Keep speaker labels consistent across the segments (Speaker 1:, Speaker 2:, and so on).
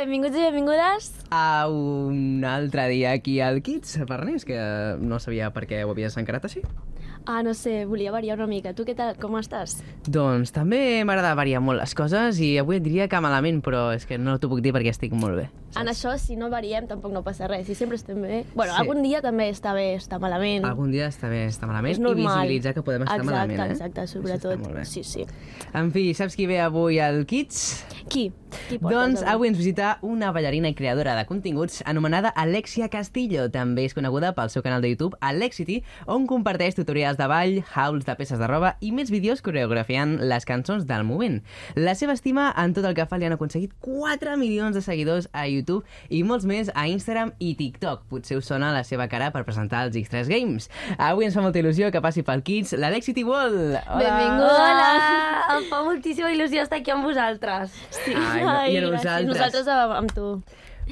Speaker 1: Benvinguts i benvingudes.
Speaker 2: A un altre dia aquí al Kids, Farners, que no sabia per què ho havies encarat així.
Speaker 1: Ah, no sé, volia variar una mica. Tu què tal? Com estàs?
Speaker 2: Doncs també m'agrada variar molt les coses i avui et diria que malament, però és que no t'ho puc dir perquè estic molt bé.
Speaker 1: En això, si no variem, tampoc no passa res. Si sempre estem bé... Bueno,
Speaker 2: Sí.
Speaker 1: algun dia també està bé estar malament.
Speaker 2: Algun dia està bé estar malament
Speaker 1: Mm. És normal.
Speaker 2: i visibilitzar que podem estar
Speaker 1: exacte,
Speaker 2: malament, eh?
Speaker 1: Exacte,
Speaker 2: Això
Speaker 1: sobretot.
Speaker 2: Està molt bé.
Speaker 1: Sí, sí.
Speaker 2: En fi, saps qui ve avui al Kids?
Speaker 1: Qui? Qui portes
Speaker 2: Doncs avui ens visita una ballarina i creadora de continguts anomenada Alexia Castillo. També és coneguda pel seu canal de YouTube, Alexity, on comparteix tutorials de ball, hauls de peces de roba i més vídeos coreografiant les cançons del moment. La seva estima en tot el que fa li han aconseguit 4 milions de seguidors a YouTube i molts més a Instagram i TikTok. Potser us sona la seva cara per presentar els X3 Games. Avui ens fa molta il·lusió que passi pel Kids l'Alexity Wall. Hola!
Speaker 1: Benvinguda.
Speaker 3: Hola! Em fa moltíssima il·lusió estar aquí amb vosaltres.
Speaker 1: Sí.
Speaker 2: Ai, no, i a
Speaker 1: gràcies.
Speaker 2: nosaltres.
Speaker 1: Nosaltres amb, amb tu.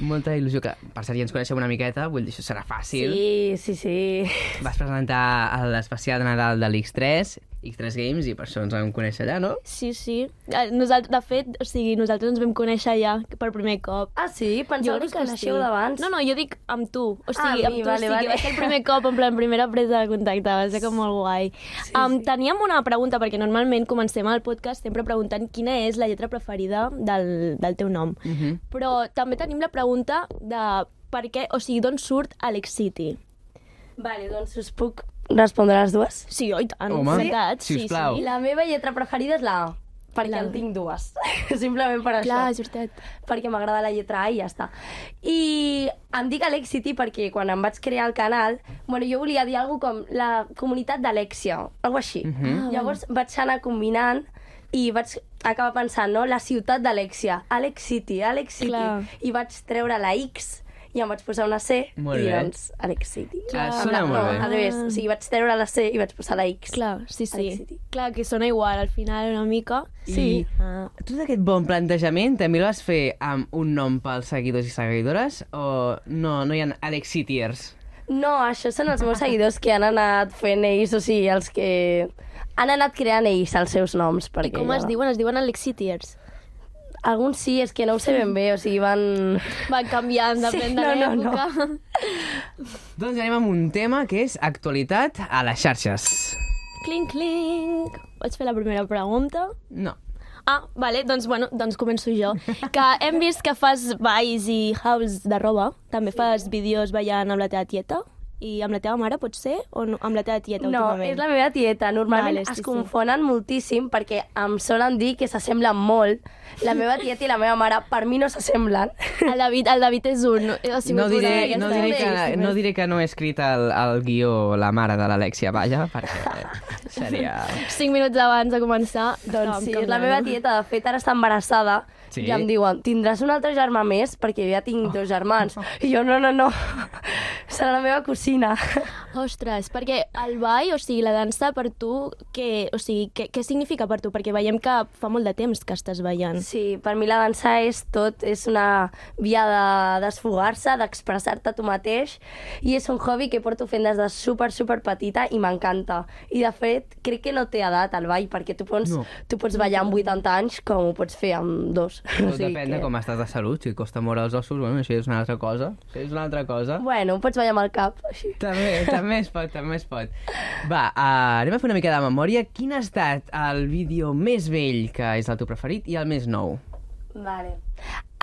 Speaker 2: Molta il·lusió que, per cert, ja ens coneixem una miqueta, vull dir, això serà fàcil.
Speaker 3: Sí, sí, sí.
Speaker 2: Vas presentar l'especial de Nadal de l'X3, X3 Games, i per això ens vam conèixer allà, no?
Speaker 1: Sí, sí. Eh, Nosaltres, de fet, o sigui, nosaltres ens vam conèixer ja per primer cop.
Speaker 3: Ah, sí? Pensava que us coneixeu d'abans.
Speaker 1: No, no, jo dic amb tu. O
Speaker 3: Ah,
Speaker 1: sigui,
Speaker 3: amb
Speaker 1: amb
Speaker 3: mi,
Speaker 1: tu
Speaker 3: vale,
Speaker 1: sí
Speaker 3: vale.
Speaker 1: que va ser el primer cop, en plan, primera presa de contacte, va ser com molt guai. Sí, um, Teníem una pregunta, perquè normalment comencem el podcast sempre preguntant quina és la lletra preferida del, del teu nom. Mm -hmm. Però també tenim la pregunta de per què, o sigui, d'on surt Alex City?
Speaker 3: Vale, doncs us puc respondre a les dues.
Speaker 1: Sí, oi tant,
Speaker 2: Home,
Speaker 1: veritat, sí,
Speaker 2: sisplau.
Speaker 1: sí.
Speaker 3: La meva lletra preferida és la A, perquè
Speaker 1: La A.
Speaker 3: en tinc dues. Simplement per
Speaker 1: Clar, és
Speaker 3: això.
Speaker 1: veritat.
Speaker 3: Perquè m'agrada la lletra A i ja està. I em dic Alexity perquè quan em vaig crear el canal, bueno, jo volia dir alguna com la comunitat d'Alexia, alguna així.
Speaker 2: Mhm.
Speaker 1: Ah,
Speaker 3: Llavors vaig anar combinant i vaig acabar pensant, no? La ciutat d'Alexia, Alex City, Alex City.
Speaker 1: Clar.
Speaker 3: I vaig treure la X i em vaig posar una C
Speaker 2: Molt
Speaker 3: i
Speaker 2: bé.
Speaker 3: doncs Alex City.
Speaker 2: Ah, sona molt
Speaker 3: no,
Speaker 2: bé.
Speaker 3: Al revés, o sigui, vaig treure la C i vaig posar la X.
Speaker 1: Clar, sí,
Speaker 3: Alex
Speaker 1: sí.
Speaker 3: City.
Speaker 1: Clar, que sona igual al final una mica.
Speaker 2: Sí.
Speaker 1: Ah.
Speaker 2: Tot aquest bon plantejament també el vas fer amb un nom pels seguidors i seguidores o no, no hi ha Alexitiers?
Speaker 3: No, això són els meus seguidors que han anat fent ells, o sigui, els que han anat creant ells els seus noms.
Speaker 1: I
Speaker 3: Perquè,
Speaker 1: com es
Speaker 3: no.
Speaker 1: diuen? Es diuen Alexitiers.
Speaker 3: Alguns sí, és que no ho sé ben bé, o sigui, van...
Speaker 1: Van canviant, depèn
Speaker 3: Sí,
Speaker 1: de
Speaker 3: no, no,
Speaker 1: l'època. No, no.
Speaker 2: Doncs anem amb un tema que és actualitat a les xarxes.
Speaker 1: Clink, clink. Vaig fer la primera pregunta.
Speaker 2: No.
Speaker 1: Ah, vale, doncs, bueno, doncs començo jo. Que hem vist que fas balls i hauls de roba. També fas vídeos ballant amb la teva tieta. I amb la teva mare, pot ser? O no? amb la teva tieta,
Speaker 3: No,
Speaker 1: últimament?
Speaker 3: és la meva tieta. Normalment
Speaker 1: Vale,
Speaker 3: vale, es
Speaker 1: sí, sí.
Speaker 3: confonen moltíssim perquè em solen dir que s'assemblen molt. La meva tieta i la meva mare, per mi no s'assemblen.
Speaker 1: El David, el David és un... O sigui,
Speaker 2: No
Speaker 1: us veurà
Speaker 2: diré, no,
Speaker 1: aquesta.
Speaker 2: diré que, no diré que no he escrit el, el guió la mare de l'Alexia Valla, perquè seria...
Speaker 1: Cinc minuts abans de començar.
Speaker 3: doncs
Speaker 1: estàvem
Speaker 3: sí, és la
Speaker 1: canviant.
Speaker 3: meva tieta. De fet, ara està embarassada.
Speaker 2: Sí.
Speaker 3: Sí. I em diuen, tindràs un altre germà més? Perquè jo ja tinc dos germans. I jo, no, no, no. Serà la meva cosina.
Speaker 1: Ostres, perquè el ball, o sigui, la dansa per tu, què, o sigui, què, què significa per tu? Perquè veiem que fa molt de temps que estàs ballant.
Speaker 3: Sí, per mi la dansa és tot, és una via de desfogar-se, d'expressar-te tu mateix i és un hobby que porto fent des de super, super petita i m'encanta. I de fet, crec que no té edat el ball perquè tu pots,
Speaker 2: No.
Speaker 3: no. tu pots ballar amb 80 anys com ho pots fer amb dos.
Speaker 2: Tot depèn de com estàs de salut, si et costa moure els ossos, bueno, això ja és una altra cosa. Això és una altra cosa.
Speaker 3: Bueno, pots ballar amb el cap, així.
Speaker 2: També, també es pot, també es pot. Va, uh, anem a fer una mica de memòria. Quin ha estat el vídeo més vell, que és el teu preferit, i el més nou?
Speaker 3: Vale.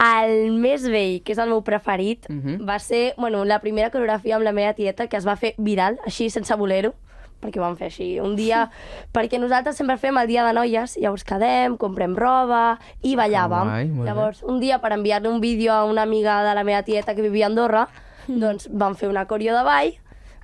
Speaker 3: El més vell, que és el meu preferit,
Speaker 2: Mhm.
Speaker 3: va ser bueno, la primera coreografia amb la meva tieta que es va fer viral, així, sense voler-ho, perquè ho vam fer així un dia... perquè nosaltres sempre fem el dia de noies, llavors quedem, comprem roba i ballàvem.
Speaker 2: guai, molt bé.
Speaker 3: llavors, un dia, per enviar-li un vídeo a una amiga de la meva tieta que vivia a Andorra, doncs vam fer una coreo de ball,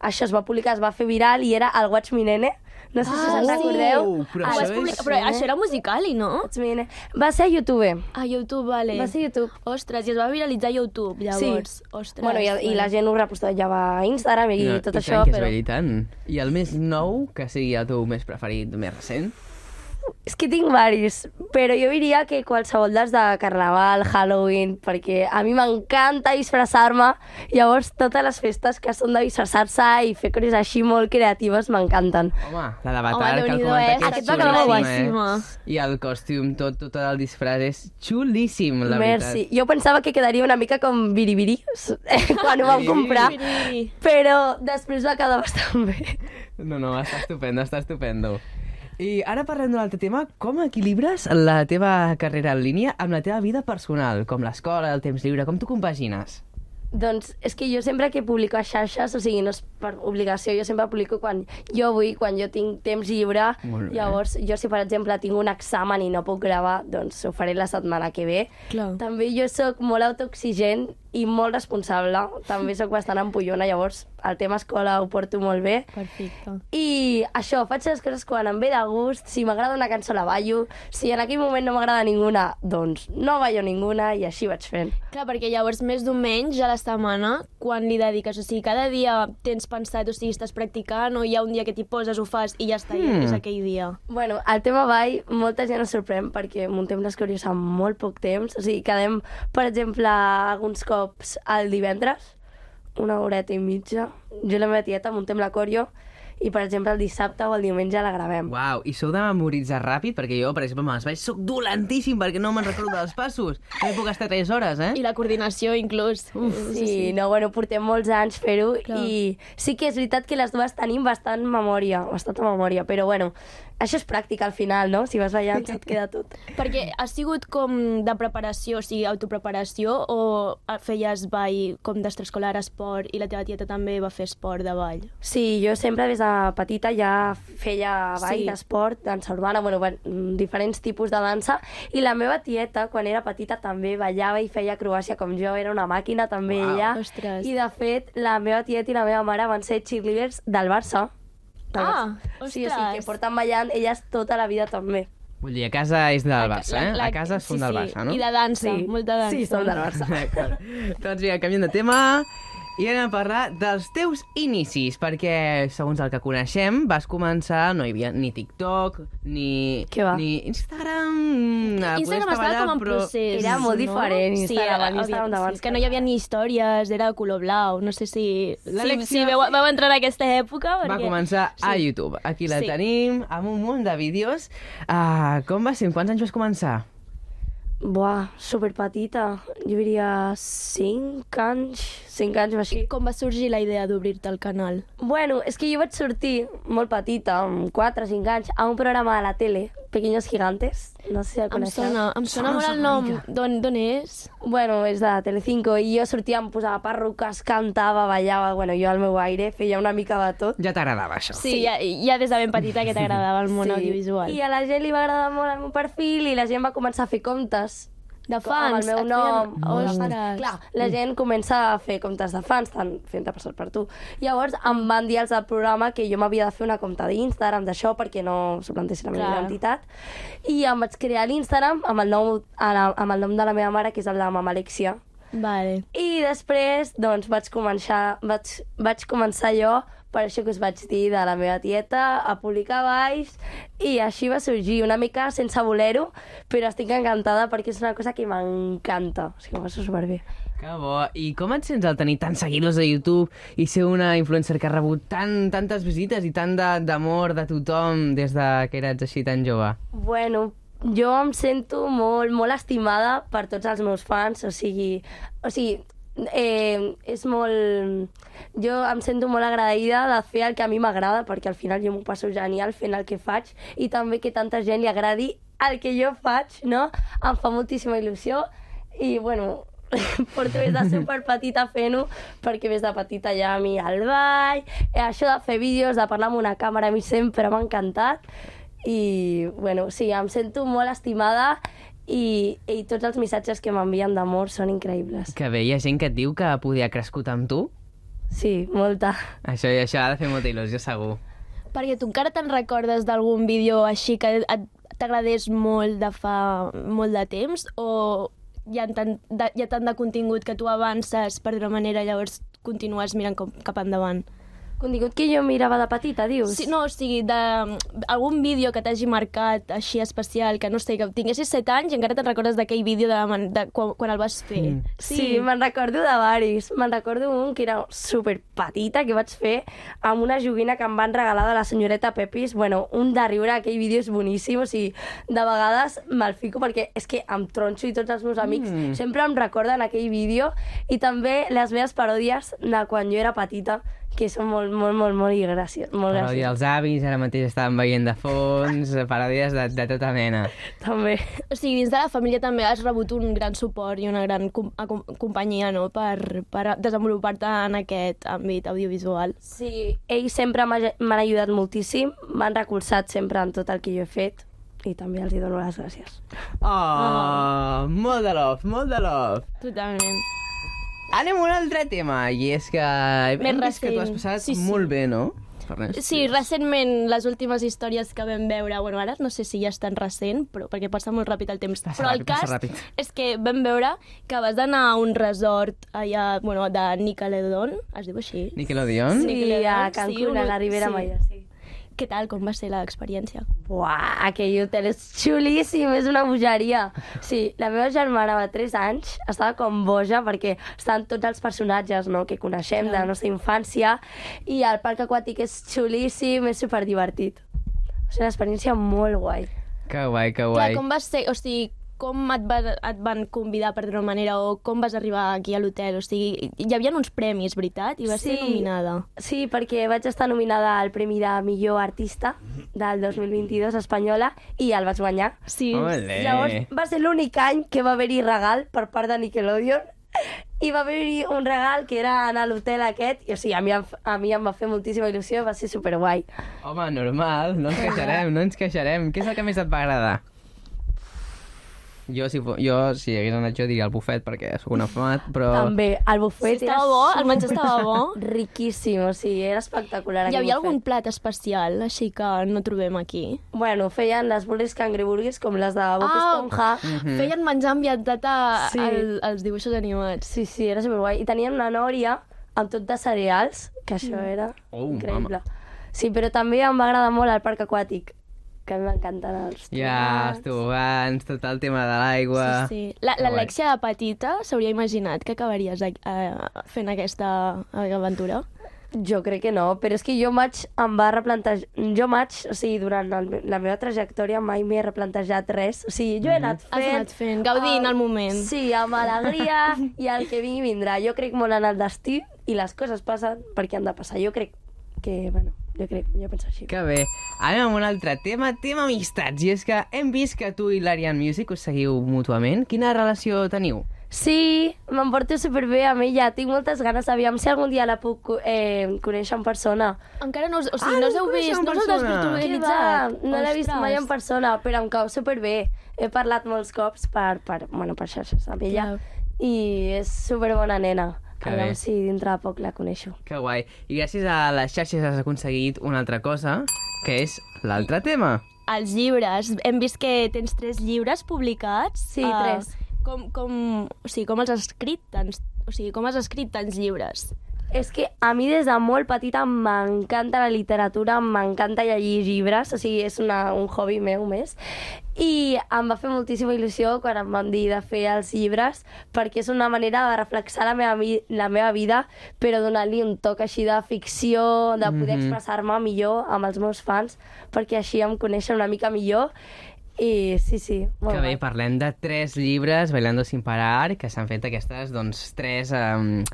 Speaker 3: això es va publicar, es va fer viral i era el Watch Me Nene, no sé si
Speaker 1: Ah,
Speaker 3: se'n
Speaker 1: sí.
Speaker 3: recordeu.
Speaker 2: Però
Speaker 1: Ah,
Speaker 3: El
Speaker 1: ho
Speaker 2: això
Speaker 1: has
Speaker 2: és- eh?
Speaker 1: publicat, però això era musical, i no?
Speaker 3: Watch Me Nene. Va ser a YouTube.
Speaker 1: A YouTube, vale.
Speaker 3: Va ser a YouTube.
Speaker 1: Ostres, i es va viralitzar a YouTube, llavors. Ostres.
Speaker 3: Bueno, i, i la gent ho repostejava a Instagram i
Speaker 2: No,
Speaker 3: tot
Speaker 2: i
Speaker 3: això,
Speaker 2: tant, que és
Speaker 3: però...
Speaker 2: vell, i tant. I el més nou, que sigui el teu més preferit, més recent?
Speaker 3: És que tinc varis. però jo diria que qualsevol dels de Carnaval, Halloween, perquè a mi m'encanta disfressar-me, llavors totes les festes que són de disfressar-se i fer coses així molt creatives m'encanten.
Speaker 2: Home, la d'Avatar,
Speaker 1: Home,
Speaker 2: que el
Speaker 1: Déu-n'hi-do,
Speaker 2: comentat
Speaker 1: eh?
Speaker 2: que és
Speaker 3: Aquest va quedar molt
Speaker 2: xulíssim, eh?
Speaker 1: guapíssima.
Speaker 2: I el còstum, tot, tot el disfraç és xulíssim, la
Speaker 3: Merci.
Speaker 2: veritat.
Speaker 3: Jo pensava que quedaria una mica com biribiri quan ho vam
Speaker 2: Biribiri.
Speaker 3: comprar,
Speaker 1: Biribiri.
Speaker 3: però després va quedar bastant bé.
Speaker 2: No, no, està estupendo, està estupendo. I ara parlem d'un altre tema, com equilibres la teva carrera en línia amb la teva vida personal, com l'escola, el temps lliure, com tu compagines?
Speaker 3: Doncs és que jo sempre que publico a xarxes, o sigui, no és per obligació, jo sempre publico quan jo vull, quan jo tinc temps lliure.
Speaker 2: Molt bé.
Speaker 3: Llavors, jo si per exemple tinc un examen i no puc gravar, doncs ho faré la setmana que ve.
Speaker 1: Clar.
Speaker 3: També jo sóc molt autoexigent i molt responsable, també sóc bastant empollona, llavors el tema escola ho porto molt bé.
Speaker 1: Perfecte.
Speaker 3: I això, faig les coses quan em ve de gust, si m'agrada una cançó la ballo, si en aquell moment no m'agrada ninguna, doncs no ballo ninguna i així vaig fent.
Speaker 1: Clar, perquè llavors més d'un menys a la setmana, quan li dediques, o sigui, cada dia tens pensat, o sigui, estàs practicant, o hi ha un dia que t'hi poses, ho fas, i ja està,
Speaker 2: Mm.
Speaker 1: mm.
Speaker 3: Hmm.
Speaker 1: és aquell dia.
Speaker 3: Bueno, el tema ball, molta gent es sorprèn perquè muntem les coreos en molt poc temps. O sigui, quedem, per exemple, alguns cops el divendres, una horeta i mitja. Jo i la meva tieta muntem la coreo i, per exemple, el dissabte o el diumenge la gravem.
Speaker 2: Uau, i sou de memoritzar ràpid? Perquè jo, per exemple, me'ls vaig... Soc dolentíssim perquè no me'n recordo dels passos. No hi puc estar 3 hores, eh?
Speaker 1: I la coordinació, inclús. Uf,
Speaker 3: Sí, no, bueno, portem molts anys fer-ho
Speaker 1: Clar.
Speaker 3: i sí que és veritat que les dues tenim bastant memòria, bastanta memòria, però bueno, això és pràctica al final, no? Si vas ballant se't queda tot.
Speaker 1: Perquè ha sigut com de preparació, o sigui, autopreparació, o feies ball com d'extraescolar esport i la teva tieta també va fer esport de ball?
Speaker 3: Sí, jo sempre des de petita ja feia ball
Speaker 1: Sí.
Speaker 3: sí. d'esport, dansa urbana, bueno, bueno, mm, diferents tipus de dansa, i la meva tieta, quan era petita, també ballava i feia acrobàcia com jo, era una màquina també
Speaker 2: Uau.
Speaker 3: ella,
Speaker 1: Ostres.
Speaker 3: i de fet, la meva tieta i la meva mare van ser cheerleaders del Barça. Del
Speaker 1: Ah,
Speaker 3: Barça. Sí, o sigui, que
Speaker 1: ostres.
Speaker 3: porten ballant elles tota la vida també.
Speaker 2: Vull dir, a casa és del Barça, eh?
Speaker 1: La-
Speaker 2: a casa són
Speaker 1: sí,
Speaker 2: del
Speaker 1: sí,
Speaker 2: Barça, no?
Speaker 1: I de dansa, sí. molta dansa.
Speaker 3: Sí, som del Barça.
Speaker 2: D'acord. doncs vinga, canviem de tema i anem a parlar dels teus inicis, perquè, segons el que coneixem, vas començar, no hi havia ni TikTok, ni,
Speaker 3: Què va?
Speaker 2: ni Instagram... eh,
Speaker 1: Instagram
Speaker 2: podies
Speaker 1: estava
Speaker 2: treballar,
Speaker 1: com en
Speaker 2: però-
Speaker 1: procés.
Speaker 3: Era molt diferent, Instagram,
Speaker 1: sí,
Speaker 3: Instagram
Speaker 1: Instagram
Speaker 3: d'abans.
Speaker 1: sí, és que no hi havia ni històries, era de color blau. No sé si, si,
Speaker 2: L'Alexia-
Speaker 1: si veu, veu entrar en aquesta època. Perquè...
Speaker 2: Va començar a
Speaker 1: Sí.
Speaker 2: YouTube. Aquí la
Speaker 1: Sí.
Speaker 2: tenim, amb un munt de vídeos. Ah, com va ser? Amb quants anys vas començar?
Speaker 3: Buah, superpetita. Jo diria 5 anys, 5 anys o així.
Speaker 1: Com va sorgir la idea d'obrir-te el canal?
Speaker 3: Bueno, és que jo vaig sortir molt petita, amb 4 o 5 anys, a un programa de la tele, Pequeños Gigantes, no sé si el
Speaker 1: Em
Speaker 3: coneixeu.
Speaker 1: sona, em sona
Speaker 2: Sona,
Speaker 1: molt el
Speaker 2: sona
Speaker 1: nom.
Speaker 2: mica.
Speaker 1: D'on d'on és?
Speaker 3: Bueno, és de Telecinco, i jo sortia, em posava perruques, cantava, ballava, bueno, jo al meu aire, feia una mica de tot.
Speaker 2: Ja t'agradava això.
Speaker 1: Sí, ja, ja des de ben petita que t'agradava el món
Speaker 3: Sí.
Speaker 1: audiovisual.
Speaker 3: I a la gent li va agradar molt el meu perfil i la gent va començar a fer comptes
Speaker 1: De
Speaker 3: com- amb el
Speaker 1: fans,
Speaker 3: meu
Speaker 1: et feien-
Speaker 3: nom.
Speaker 1: Ostres.
Speaker 3: de fans. Clar, la gent comença a fer comptes de fans, tant fent-te passar per tu. Llavors em van dir els del programa que jo m'havia de fer una compte d'Instagram d'això perquè no suplantessin la meva
Speaker 1: Clar.
Speaker 3: identitat. I em vaig crear l'Instagram amb, el nom, ara- amb el nom de la meva mare, que és el de Mama Alexia.
Speaker 1: Vale.
Speaker 3: I després, doncs, vaig començar, vaig, vaig començar jo, per això que us vaig dir de la meva tieta, a publicar balls, i així va sorgir, una mica sense voler-ho, però estic encantada perquè és una cosa que m'encanta. O sigui, m'ho passo superbé.
Speaker 2: Que bo. I com et sents al tenir tants seguidors a YouTube i ser una influencer que ha rebut tan, tantes visites i tant de- d'amor de, de tothom des de que eres així tan jove?
Speaker 3: Bueno, jo em sento molt, molt estimada per tots els meus fans, o sigui, o sigui eh, és molt... Jo em sento molt agraïda de fer el que a mi m'agrada, perquè al final jo m'ho passo genial fent el que faig, i també que tanta gent li agradi el que jo faig, no? Em fa moltíssima il·lusió, i bueno, porto des de super petita fent-ho, perquè des de petita ja a mi al ball, eh, això de fer vídeos, de parlar amb una càmera, a mi sempre m'ha encantat, i bueno, sí, em sento molt estimada i, i tots els missatges que m'envien d'amor són increïbles.
Speaker 2: Que bé, hi ha gent que et diu que podia ha crescut amb tu.
Speaker 3: Sí, molta.
Speaker 2: Això, això ha de fer molta il·lusió, segur.
Speaker 1: Perquè tu encara te'n recordes d'algun vídeo així que et- t'agradés molt de fa molt de temps o hi ha tant de, hi ha tant de contingut que tu avances per una manera llavors continues mirant com, cap endavant?
Speaker 3: Contingut que jo mirava de petita, dius?
Speaker 1: Sí, no, o sigui, de, algun vídeo que t'hagi marcat així especial, que no sé, que tinguessis 7 anys i encara te'n recordes d'aquell vídeo de, de, de quan, quan el vas fer. Mm.
Speaker 3: Sí, sí me'n recordo de varis. Me'n recordo un que era super petita que vaig fer amb una joguina que em van regalar de la senyoreta Pepis. Bueno, un de riure, aquell vídeo és boníssim. O sigui, de vegades me'l fico perquè és que em tronxo i tots els meus amics mm. sempre em recorden aquell vídeo. I també les meves paròdies de quan jo era petita que són molt, molt, molt, molt i gràcies. Molt
Speaker 2: Paròdia
Speaker 3: gràcies.
Speaker 2: dels avis, ara mateix estàvem veient de fons, paròdies de, de tota mena.
Speaker 3: També.
Speaker 1: O sigui, dins de la família també has rebut un gran suport i una gran com acom- companyia no? per, per desenvolupar-te en aquest àmbit audiovisual.
Speaker 3: Sí, ells sempre m'ha- m'han ajudat moltíssim, m'han recolzat sempre en tot el que jo he fet i també els hi dono les gràcies.
Speaker 2: Oh,
Speaker 1: Ah.
Speaker 2: oh. molt de love, molt de love.
Speaker 1: Totalment.
Speaker 2: Anem a un altre tema, i és que hem
Speaker 1: Més
Speaker 2: vist que tu has
Speaker 1: recent.
Speaker 2: passat
Speaker 1: Sí, sí.
Speaker 2: molt bé, no? Ernest?
Speaker 1: Sí, recentment, les últimes històries que vam veure, bueno, ara no sé si ja és tan recent, però, perquè passa molt ràpid el temps.
Speaker 2: Passa
Speaker 1: però
Speaker 2: ràpid,
Speaker 1: el cas
Speaker 2: passa ràpid.
Speaker 1: és que vam veure que vas anar a un resort allà, bueno, de Nickelodeon, es diu així?
Speaker 2: Nickelodeon?
Speaker 1: Sí,
Speaker 3: Sí, a
Speaker 1: sí,
Speaker 3: Cancún,
Speaker 1: un-
Speaker 3: a la Ribera
Speaker 1: sí.
Speaker 3: Maya, sí.
Speaker 1: Què tal? Com va ser l'experiència?
Speaker 3: Buah, aquell hotel és xulíssim, és una bogeria. Sí, la meva germana va 3 anys, estava com boja perquè estan tots els personatges no, que coneixem de la nostra infància i el parc aquàtic és xulíssim, és superdivertit. És una experiència molt guai.
Speaker 2: Que guai, que
Speaker 1: Clar,
Speaker 2: guai.
Speaker 1: com va ser, o sigui, com et, va, et van convidar, per dir-ho manera, o com vas arribar aquí a l'hotel? O sigui, hi havia uns premis, veritat? I vas
Speaker 3: Sí.
Speaker 1: ser nominada.
Speaker 3: Sí, perquè vaig estar nominada al Premi de Millor Artista del 2022 espanyola i el vaig guanyar.
Speaker 1: Sí.
Speaker 2: Olé.
Speaker 3: Llavors, va ser l'únic any que va haver-hi regal per part de Nickelodeon i va haver-hi un regal que era anar a l'hotel aquest i o sigui, a mi, em f- a mi em va fer moltíssima il·lusió, va ser superguai.
Speaker 2: Home, normal, no ens queixarem, no ens queixarem. Què és el que més et va agradar? Jo, si, fo- jo, si hagués anat jo, diria el bufet, perquè sóc un enfamat, però...
Speaker 3: També, el bufet
Speaker 1: Sí,
Speaker 3: era
Speaker 1: estava bo, el menjar
Speaker 3: super-
Speaker 1: estava bo.
Speaker 3: Riquíssim, o sigui, era espectacular.
Speaker 1: Hi
Speaker 3: aquell
Speaker 1: havia
Speaker 3: bufet.
Speaker 1: algun plat especial, així que no trobem aquí?
Speaker 3: Bueno, feien les boles cangreburgues com les de Bob
Speaker 1: Ah.
Speaker 3: Esponja.
Speaker 2: Mhm.
Speaker 1: Feien menjar ambientat a,
Speaker 3: Sí.
Speaker 1: sí. al, als dibuixos animats.
Speaker 3: Sí, sí, era superguai. I tenien una nòria amb tot de cereals, que això
Speaker 1: Mm.
Speaker 3: era
Speaker 2: Oh,
Speaker 3: increïble. Sí, però també em va agradar molt el parc aquàtic, que a mi m'encanten els
Speaker 2: Ja, estuvants, tot el tema de l'aigua...
Speaker 1: Sí, sí. La-
Speaker 2: Que guai.
Speaker 1: L'Alexia de petita s'hauria imaginat que acabaries a, a, fent aquesta aventura?
Speaker 3: Jo crec que no, però és que jo maig em va replantejar... Jo maig, o sigui, durant el, me- la meva trajectòria mai m'he replantejat res. O sigui, jo he anat
Speaker 1: Mhm. Has
Speaker 3: fent...
Speaker 1: anat fent, gaudint el moment.
Speaker 3: Sí, amb alegria i el que vingui vindrà. Jo crec molt en el destí i les coses passen perquè han de passar. Jo crec que, bueno, jo crec, jo penso així.
Speaker 2: Que bé. Anem amb un altre tema, tema amistats. I és que hem vist que tu i l'Arian Music us seguiu mútuament. Quina relació teniu?
Speaker 3: Sí, me'n porto superbé amb ella. Tinc moltes ganes, aviam si algun dia la puc co- eh, conèixer en persona.
Speaker 1: Encara no us, o sigui, no
Speaker 2: Ah, no
Speaker 1: us heu
Speaker 2: us coneixeu
Speaker 1: vist,
Speaker 2: en
Speaker 1: no us heu
Speaker 2: persona.
Speaker 3: Què
Speaker 1: desvirtualitzat.
Speaker 3: va? No l'he vist mai en persona, però em cau superbé. He parlat molts cops per, per, bueno, per xarxes amb ella
Speaker 1: Clar.
Speaker 3: i és superbona nena.
Speaker 2: Que bé.
Speaker 3: Aviam si dintre de poc la coneixo.
Speaker 2: Que guai. I gràcies a les xarxes has aconseguit una altra cosa, que és l'altre tema.
Speaker 1: Els llibres. Hem vist que tens tres llibres publicats.
Speaker 3: Sí,
Speaker 1: Ah,
Speaker 3: tres.
Speaker 1: Com, com, o sigui, com els has escrit tants, o sigui, com has escrit tants llibres?
Speaker 3: És que a mi des de molt petita m'encanta la literatura, m'encanta llegir llibres, o sigui, és una, un hobby meu més. I em va fer moltíssima il·lusió quan em van dir de fer els llibres, perquè és una manera de reflexar la meva, vi- la meva vida, però donar-li un toc així de ficció, de
Speaker 2: Mhm.
Speaker 3: poder expressar-me millor amb els meus fans, perquè així em coneixen una mica millor. I sí, sí, molt
Speaker 2: que bé,
Speaker 3: guai.
Speaker 2: parlem de tres llibres, Bailando sin parar, que s'han fet aquestes, doncs, tres, um,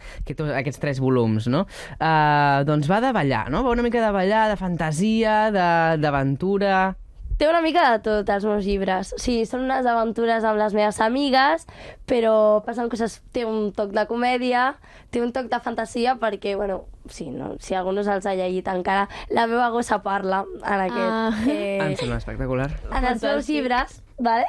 Speaker 2: aquests tres volums, no? Uh, doncs va de ballar, no? Va una mica de ballar, de fantasia, de- d'aventura...
Speaker 3: Té una mica de tot, els meus llibres. O sigui, són unes aventures amb les meves amigues, però passen coses... Té un toc de comèdia, té un toc de fantasia, perquè, bueno, sí, no, si algú no se'ls ha llegit encara, la meva gossa parla en aquest.
Speaker 1: Ah.
Speaker 3: Eh,
Speaker 2: Em sembla espectacular.
Speaker 3: en els meus
Speaker 1: Fantàstic.
Speaker 3: llibres, vale?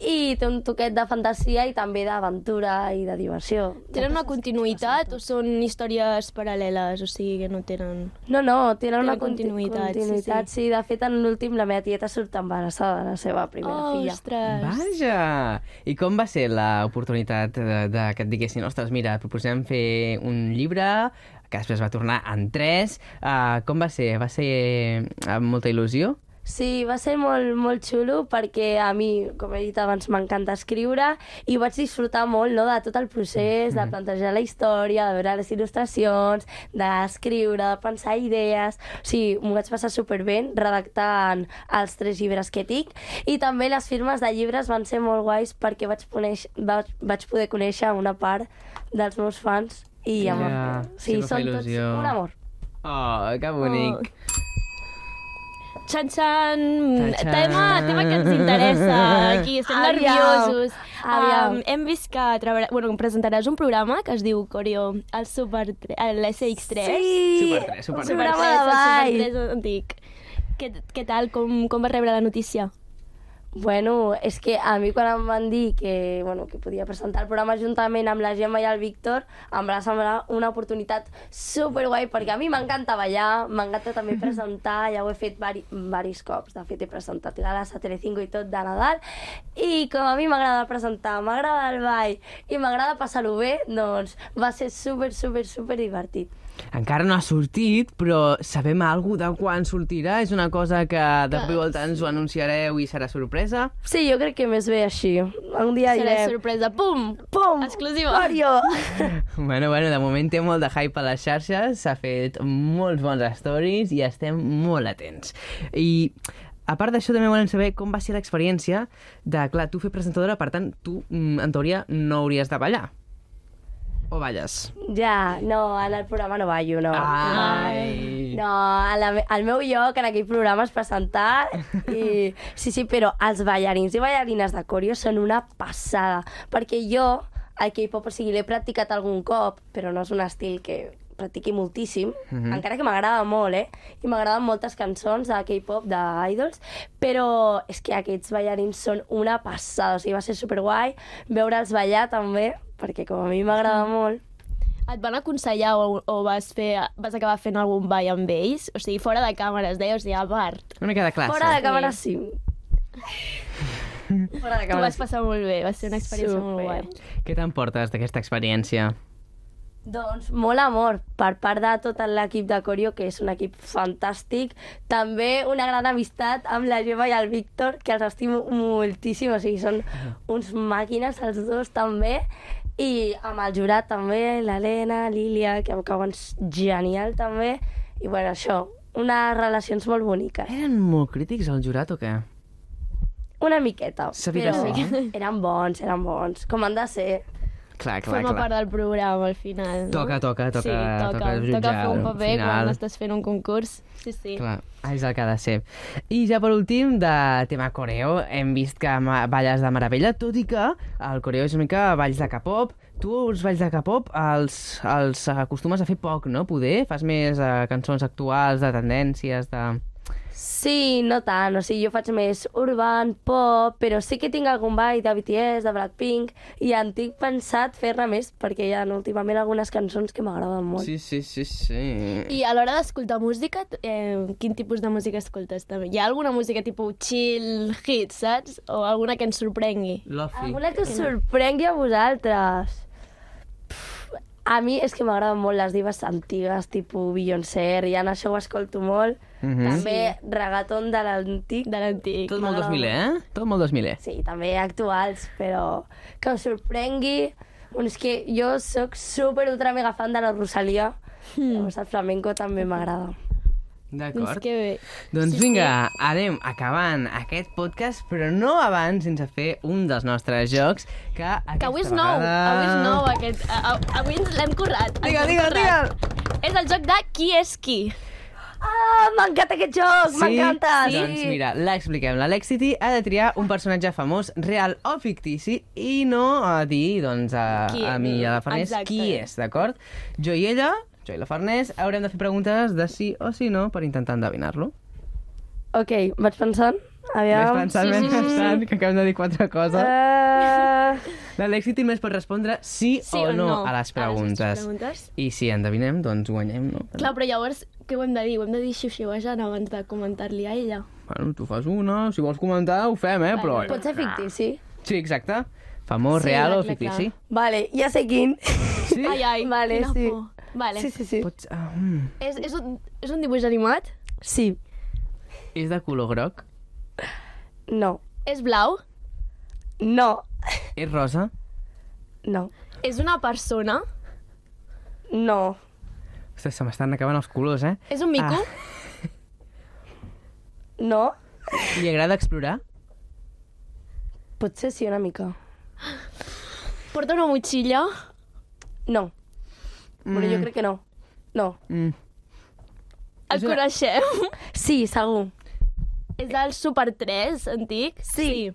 Speaker 3: i té un toquet de fantasia i també d'aventura i de diversió.
Speaker 1: Tenen una continuïtat o són històries paral·leles? O sigui, que no tenen...
Speaker 3: No, no, tenen
Speaker 1: Tenen
Speaker 3: una conti-
Speaker 1: continuïtat, sí,
Speaker 3: continuïtat, sí, sí. De fet, en l'últim la meva tieta surt embarassada de la seva primera
Speaker 1: Oh,
Speaker 3: filla.
Speaker 1: ostres!
Speaker 2: Vaja! I com va ser l'oportunitat de, de que et diguessin ostres, mira, et proposem fer un llibre que després va tornar en tres. Uh, com va ser? Va ser amb molta il·lusió?
Speaker 3: Sí, va ser molt, molt xulo perquè a mi, com he dit abans, m'encanta escriure i vaig disfrutar molt no, de tot el procés,
Speaker 2: Mm-hmm.
Speaker 3: de plantejar la història, de veure les il·lustracions, d'escriure, de pensar idees... O sigui, m'ho vaig passar superbé redactant els tres llibres que tinc i també les firmes de llibres van ser molt guais perquè vaig, conèixer, vaig, vaig poder conèixer una part dels meus fans i
Speaker 2: Ja,
Speaker 3: yeah, amor. Sí,
Speaker 2: sempre fa
Speaker 3: són tots
Speaker 2: il·lusió.
Speaker 3: un amor.
Speaker 2: Oh, que bonic! Oh.
Speaker 1: Txan, txan,
Speaker 2: Txan,
Speaker 1: tema,
Speaker 2: txan.
Speaker 1: tema que ens interessa. Aquí estem
Speaker 3: Aviam,
Speaker 1: nerviosos.
Speaker 3: aviam.
Speaker 1: Um, hem vist que treballa... bueno, presentaràs un programa que es diu Coreo, el Super... tre- a l'SX3.
Speaker 3: Sí,
Speaker 2: Super tres, Super
Speaker 3: un
Speaker 2: tres.
Speaker 3: programa de
Speaker 1: el
Speaker 3: ball.
Speaker 1: Super 3 antic. Què, què tal? Com, com vas rebre la notícia?
Speaker 3: Bueno, és que a mi quan em van dir que, bueno, que podia presentar el programa juntament amb la Gemma i el Víctor, em va semblar una oportunitat superguai, perquè a mi m'encanta ballar, m'encanta també presentar, ja ho he fet vari, varis cops, de fet he presentat galas a Telecinco i tot de Nadal, i com a mi m'agrada presentar, m'agrada el ball i m'agrada passar-ho bé, doncs va ser super, super, super divertit.
Speaker 2: Encara no ha sortit, però sabem alguna de quan sortirà? És una cosa que de cop i volta ens ho anunciareu i serà sorpresa?
Speaker 3: Sí, jo crec que més bé així. Un dia
Speaker 1: Serà
Speaker 3: direm...
Speaker 1: sorpresa. Pum!
Speaker 3: Pum!
Speaker 1: Exclusiva.
Speaker 3: Mario!
Speaker 2: Bueno, bueno, de moment té molt de hype a les xarxes, s'ha fet molts bons stories i estem molt atents. I a part d'això també volem saber com va ser l'experiència de, clar, tu fer presentadora, per tant, tu, mm, en teoria, no hauries de ballar. O balles?
Speaker 3: Ja, no, en el programa no ballo, no.
Speaker 2: Ah. Ai.
Speaker 3: No, a la, me- al meu lloc, en aquell programa, es presentar i... Sí, sí, però els ballarins i ballarines de coreo són una passada, perquè jo el K-pop, o sigui, l'he practicat algun cop, però no és un estil que practiqui moltíssim, encara que m'agrada molt, eh? I m'agraden moltes cançons de K-pop, d'idols, però és que aquests ballarins són una passada, o sigui, va ser superguai veure'ls ballar també, perquè com a mi m'agrada molt,
Speaker 1: Et van aconsellar o, o vas, fer, vas acabar fent algun ball amb ells? O sigui, fora de càmeres, deia, o sigui, a part.
Speaker 2: Una mica de classe.
Speaker 3: Fora de càmera sí. Fora de
Speaker 1: T'ho
Speaker 3: càmera
Speaker 1: vas
Speaker 3: sí.
Speaker 1: passar molt bé, va ser una experiència molt
Speaker 3: Super.
Speaker 1: guai.
Speaker 2: Què t'emportes d'aquesta experiència?
Speaker 3: Doncs molt amor per part de tot l'equip de Corio, que és un equip fantàstic. També una gran amistat amb la Gemma i el Víctor, que els estimo moltíssim. O sigui, són uns màquines els dos també. I amb el jurat també, l'Helena, Lília, que em cauen genial també. I bueno, això, unes relacions molt boniques.
Speaker 2: Eren molt crítics al jurat o què?
Speaker 3: Una miqueta,
Speaker 2: S'havia de
Speaker 3: però eren bons, eren bons, com han de ser.
Speaker 2: Clar, clar,
Speaker 1: Forma part
Speaker 2: clar.
Speaker 1: del programa, al final.
Speaker 2: Toca, toca, toca,
Speaker 1: sí, toca,
Speaker 2: toca
Speaker 1: toca
Speaker 2: jutjar
Speaker 1: fer un
Speaker 2: al
Speaker 1: paper
Speaker 2: final.
Speaker 1: quan estàs fent un concurs. Sí, sí.
Speaker 2: Clar, ah, és el que ha de ser. I ja per últim, de tema coreo, hem vist que ma- balles de meravella, tot i que el coreo és una mica balls de K-pop. Tu els balls de K-pop els, els acostumes a fer poc, no? Poder? Fas més eh, cançons actuals, de tendències, de...
Speaker 3: Sí, no tant, o sigui, jo faig més urban, pop, però sí que tinc algun ball de BTS, de Blackpink, i en tinc pensat fer-ne més, perquè hi ha últimament algunes cançons que m'agraden molt. Sí.
Speaker 2: sí, sí, sí.
Speaker 1: I a l'hora d'escoltar música, t- eh, quin tipus de música escoltes també? Hi ha alguna música tipus chill, hit, saps? O alguna que ens sorprengui?
Speaker 2: Lofi.
Speaker 3: Alguna que us sorprengui a vosaltres. Pff, A mi és que m'agraden molt les divas antigues, tipus Beyoncé, Rihanna, això ho escolto molt.
Speaker 2: Mhm.
Speaker 3: També reggaeton de l'antic.
Speaker 1: De l'antic.
Speaker 2: Tot molt 2000, eh? Tot molt 2000, eh?
Speaker 3: Sí, també actuals, però que us sorprengui. Bueno, és que jo sóc super ultra mega fan de la Rosalia. Mm.
Speaker 1: Hmm.
Speaker 3: Llavors el flamenco també m'agrada.
Speaker 1: Doncs
Speaker 2: D'acord.
Speaker 1: que bé.
Speaker 2: Doncs vinga, anem acabant aquest podcast, però no abans sense fer un dels nostres jocs, que aquesta
Speaker 1: Que avui és nou,
Speaker 2: vegada...
Speaker 1: avui és nou aquest... a- a- Avui ens l'hem currat. ens
Speaker 2: Digue'l,
Speaker 1: l'hem
Speaker 2: digue'l,
Speaker 1: currat. És el joc de qui és qui.
Speaker 3: Ah, m'encanta aquest joc, sí? m'encanta!
Speaker 2: Doncs mira, l'expliquem. L'Alexity ha de triar un personatge famós, real o fictici, i no a dir, doncs, a,
Speaker 1: Qui-
Speaker 2: a mi i a la Farners
Speaker 1: Exacte.
Speaker 2: qui és, d'acord? Jo i ella, jo i la Farners, haurem de fer preguntes de sí o sí no per intentar endevinar-lo.
Speaker 3: Ok, vaig pensant?
Speaker 2: Ves
Speaker 3: Aviam...
Speaker 2: pensant, ves pensant, que acabes de dir quatre coses.
Speaker 3: Eh,
Speaker 2: L'Alexity més pot respondre sí,
Speaker 1: Sí
Speaker 2: o,
Speaker 1: o
Speaker 2: no,
Speaker 1: no
Speaker 2: a les
Speaker 1: a les nostres
Speaker 2: preguntes.
Speaker 1: preguntes.
Speaker 2: I si endevinem, doncs guanyem, no?
Speaker 1: Clar, però llavors, què ho hem de dir? Ho hem de dir xiu-xiuejant abans de comentar-li a ella.
Speaker 2: Bueno, tu fas una, si vols comentar ho fem, eh? Però...
Speaker 3: pot ser fictici.
Speaker 2: Sí, exacte. Famós,
Speaker 1: Sí,
Speaker 2: real o
Speaker 1: clar, clar,
Speaker 2: fictici.
Speaker 3: Vale, ja sé quin.
Speaker 2: Sí?
Speaker 1: Ai, ai,
Speaker 3: Vale,
Speaker 1: quina
Speaker 3: sí.
Speaker 1: por. Vale.
Speaker 3: Sí, sí, sí.
Speaker 2: Pots... ah, mm.
Speaker 1: És, és, un, és un dibuix animat?
Speaker 3: Sí.
Speaker 2: És de color groc?
Speaker 3: No.
Speaker 1: És blau?
Speaker 3: No.
Speaker 2: És rosa?
Speaker 3: No.
Speaker 1: És una persona?
Speaker 3: No.
Speaker 2: Ostres, se m'estan acabant els colors, eh?
Speaker 1: És un mico?
Speaker 2: Ah,
Speaker 3: No.
Speaker 2: li agrada explorar?
Speaker 3: Potser sí una mica.
Speaker 1: Porta una motxilla?
Speaker 3: No. Però jo crec que no. No.
Speaker 2: Mm.
Speaker 1: El
Speaker 2: És una-
Speaker 1: coneixem?
Speaker 3: Sí, segur.
Speaker 1: és del Super 3 antic? Sí.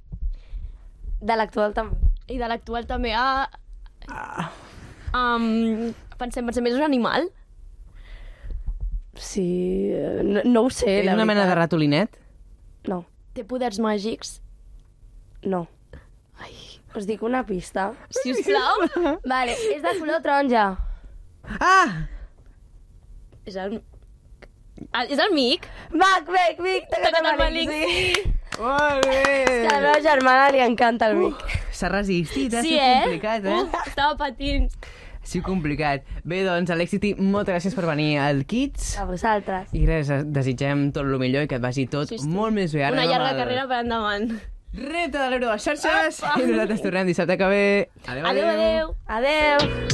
Speaker 3: De l'actual també.
Speaker 1: I de l'actual també. Ah, um, pensem, pensem, és un animal?
Speaker 3: Sí, eh, no, no ho sé,
Speaker 2: És
Speaker 3: la
Speaker 2: una mena de
Speaker 3: veritat.
Speaker 2: ratolinet?
Speaker 3: No,
Speaker 1: Té poders màgics?
Speaker 3: no. Ai. Us dic una pista.
Speaker 1: Si us plau.
Speaker 3: Vale, és de color taronja.
Speaker 2: Ah!
Speaker 1: és el... el... És el mic?
Speaker 3: Mac, Mac, Vic, tacat
Speaker 1: Tacat
Speaker 3: amb
Speaker 1: amb
Speaker 3: Malic,
Speaker 1: Malic,
Speaker 3: sí.
Speaker 2: Molt
Speaker 3: Que
Speaker 2: bé!
Speaker 3: a la meva germana li encanta el Vic.
Speaker 2: S'ha resistit, ha
Speaker 1: sí,
Speaker 2: sigut
Speaker 1: eh?
Speaker 2: complicat, eh?
Speaker 1: Uh, estava patint.
Speaker 2: Ha sigut complicat. Bé, doncs, Alexity, moltes gràcies per venir al Kids.
Speaker 3: A vosaltres.
Speaker 2: I res, desitgem tot el millor i que et vagi tot
Speaker 1: Sí, sí.
Speaker 2: molt més bé. Ara
Speaker 1: Una
Speaker 2: anem
Speaker 1: llarga
Speaker 2: al
Speaker 1: carrera per endavant.
Speaker 2: Repte de l'Euro a xarxes. I nosaltres tornem dissabte que ve. Adéu,
Speaker 1: Adéu, adéu.
Speaker 3: Adeu.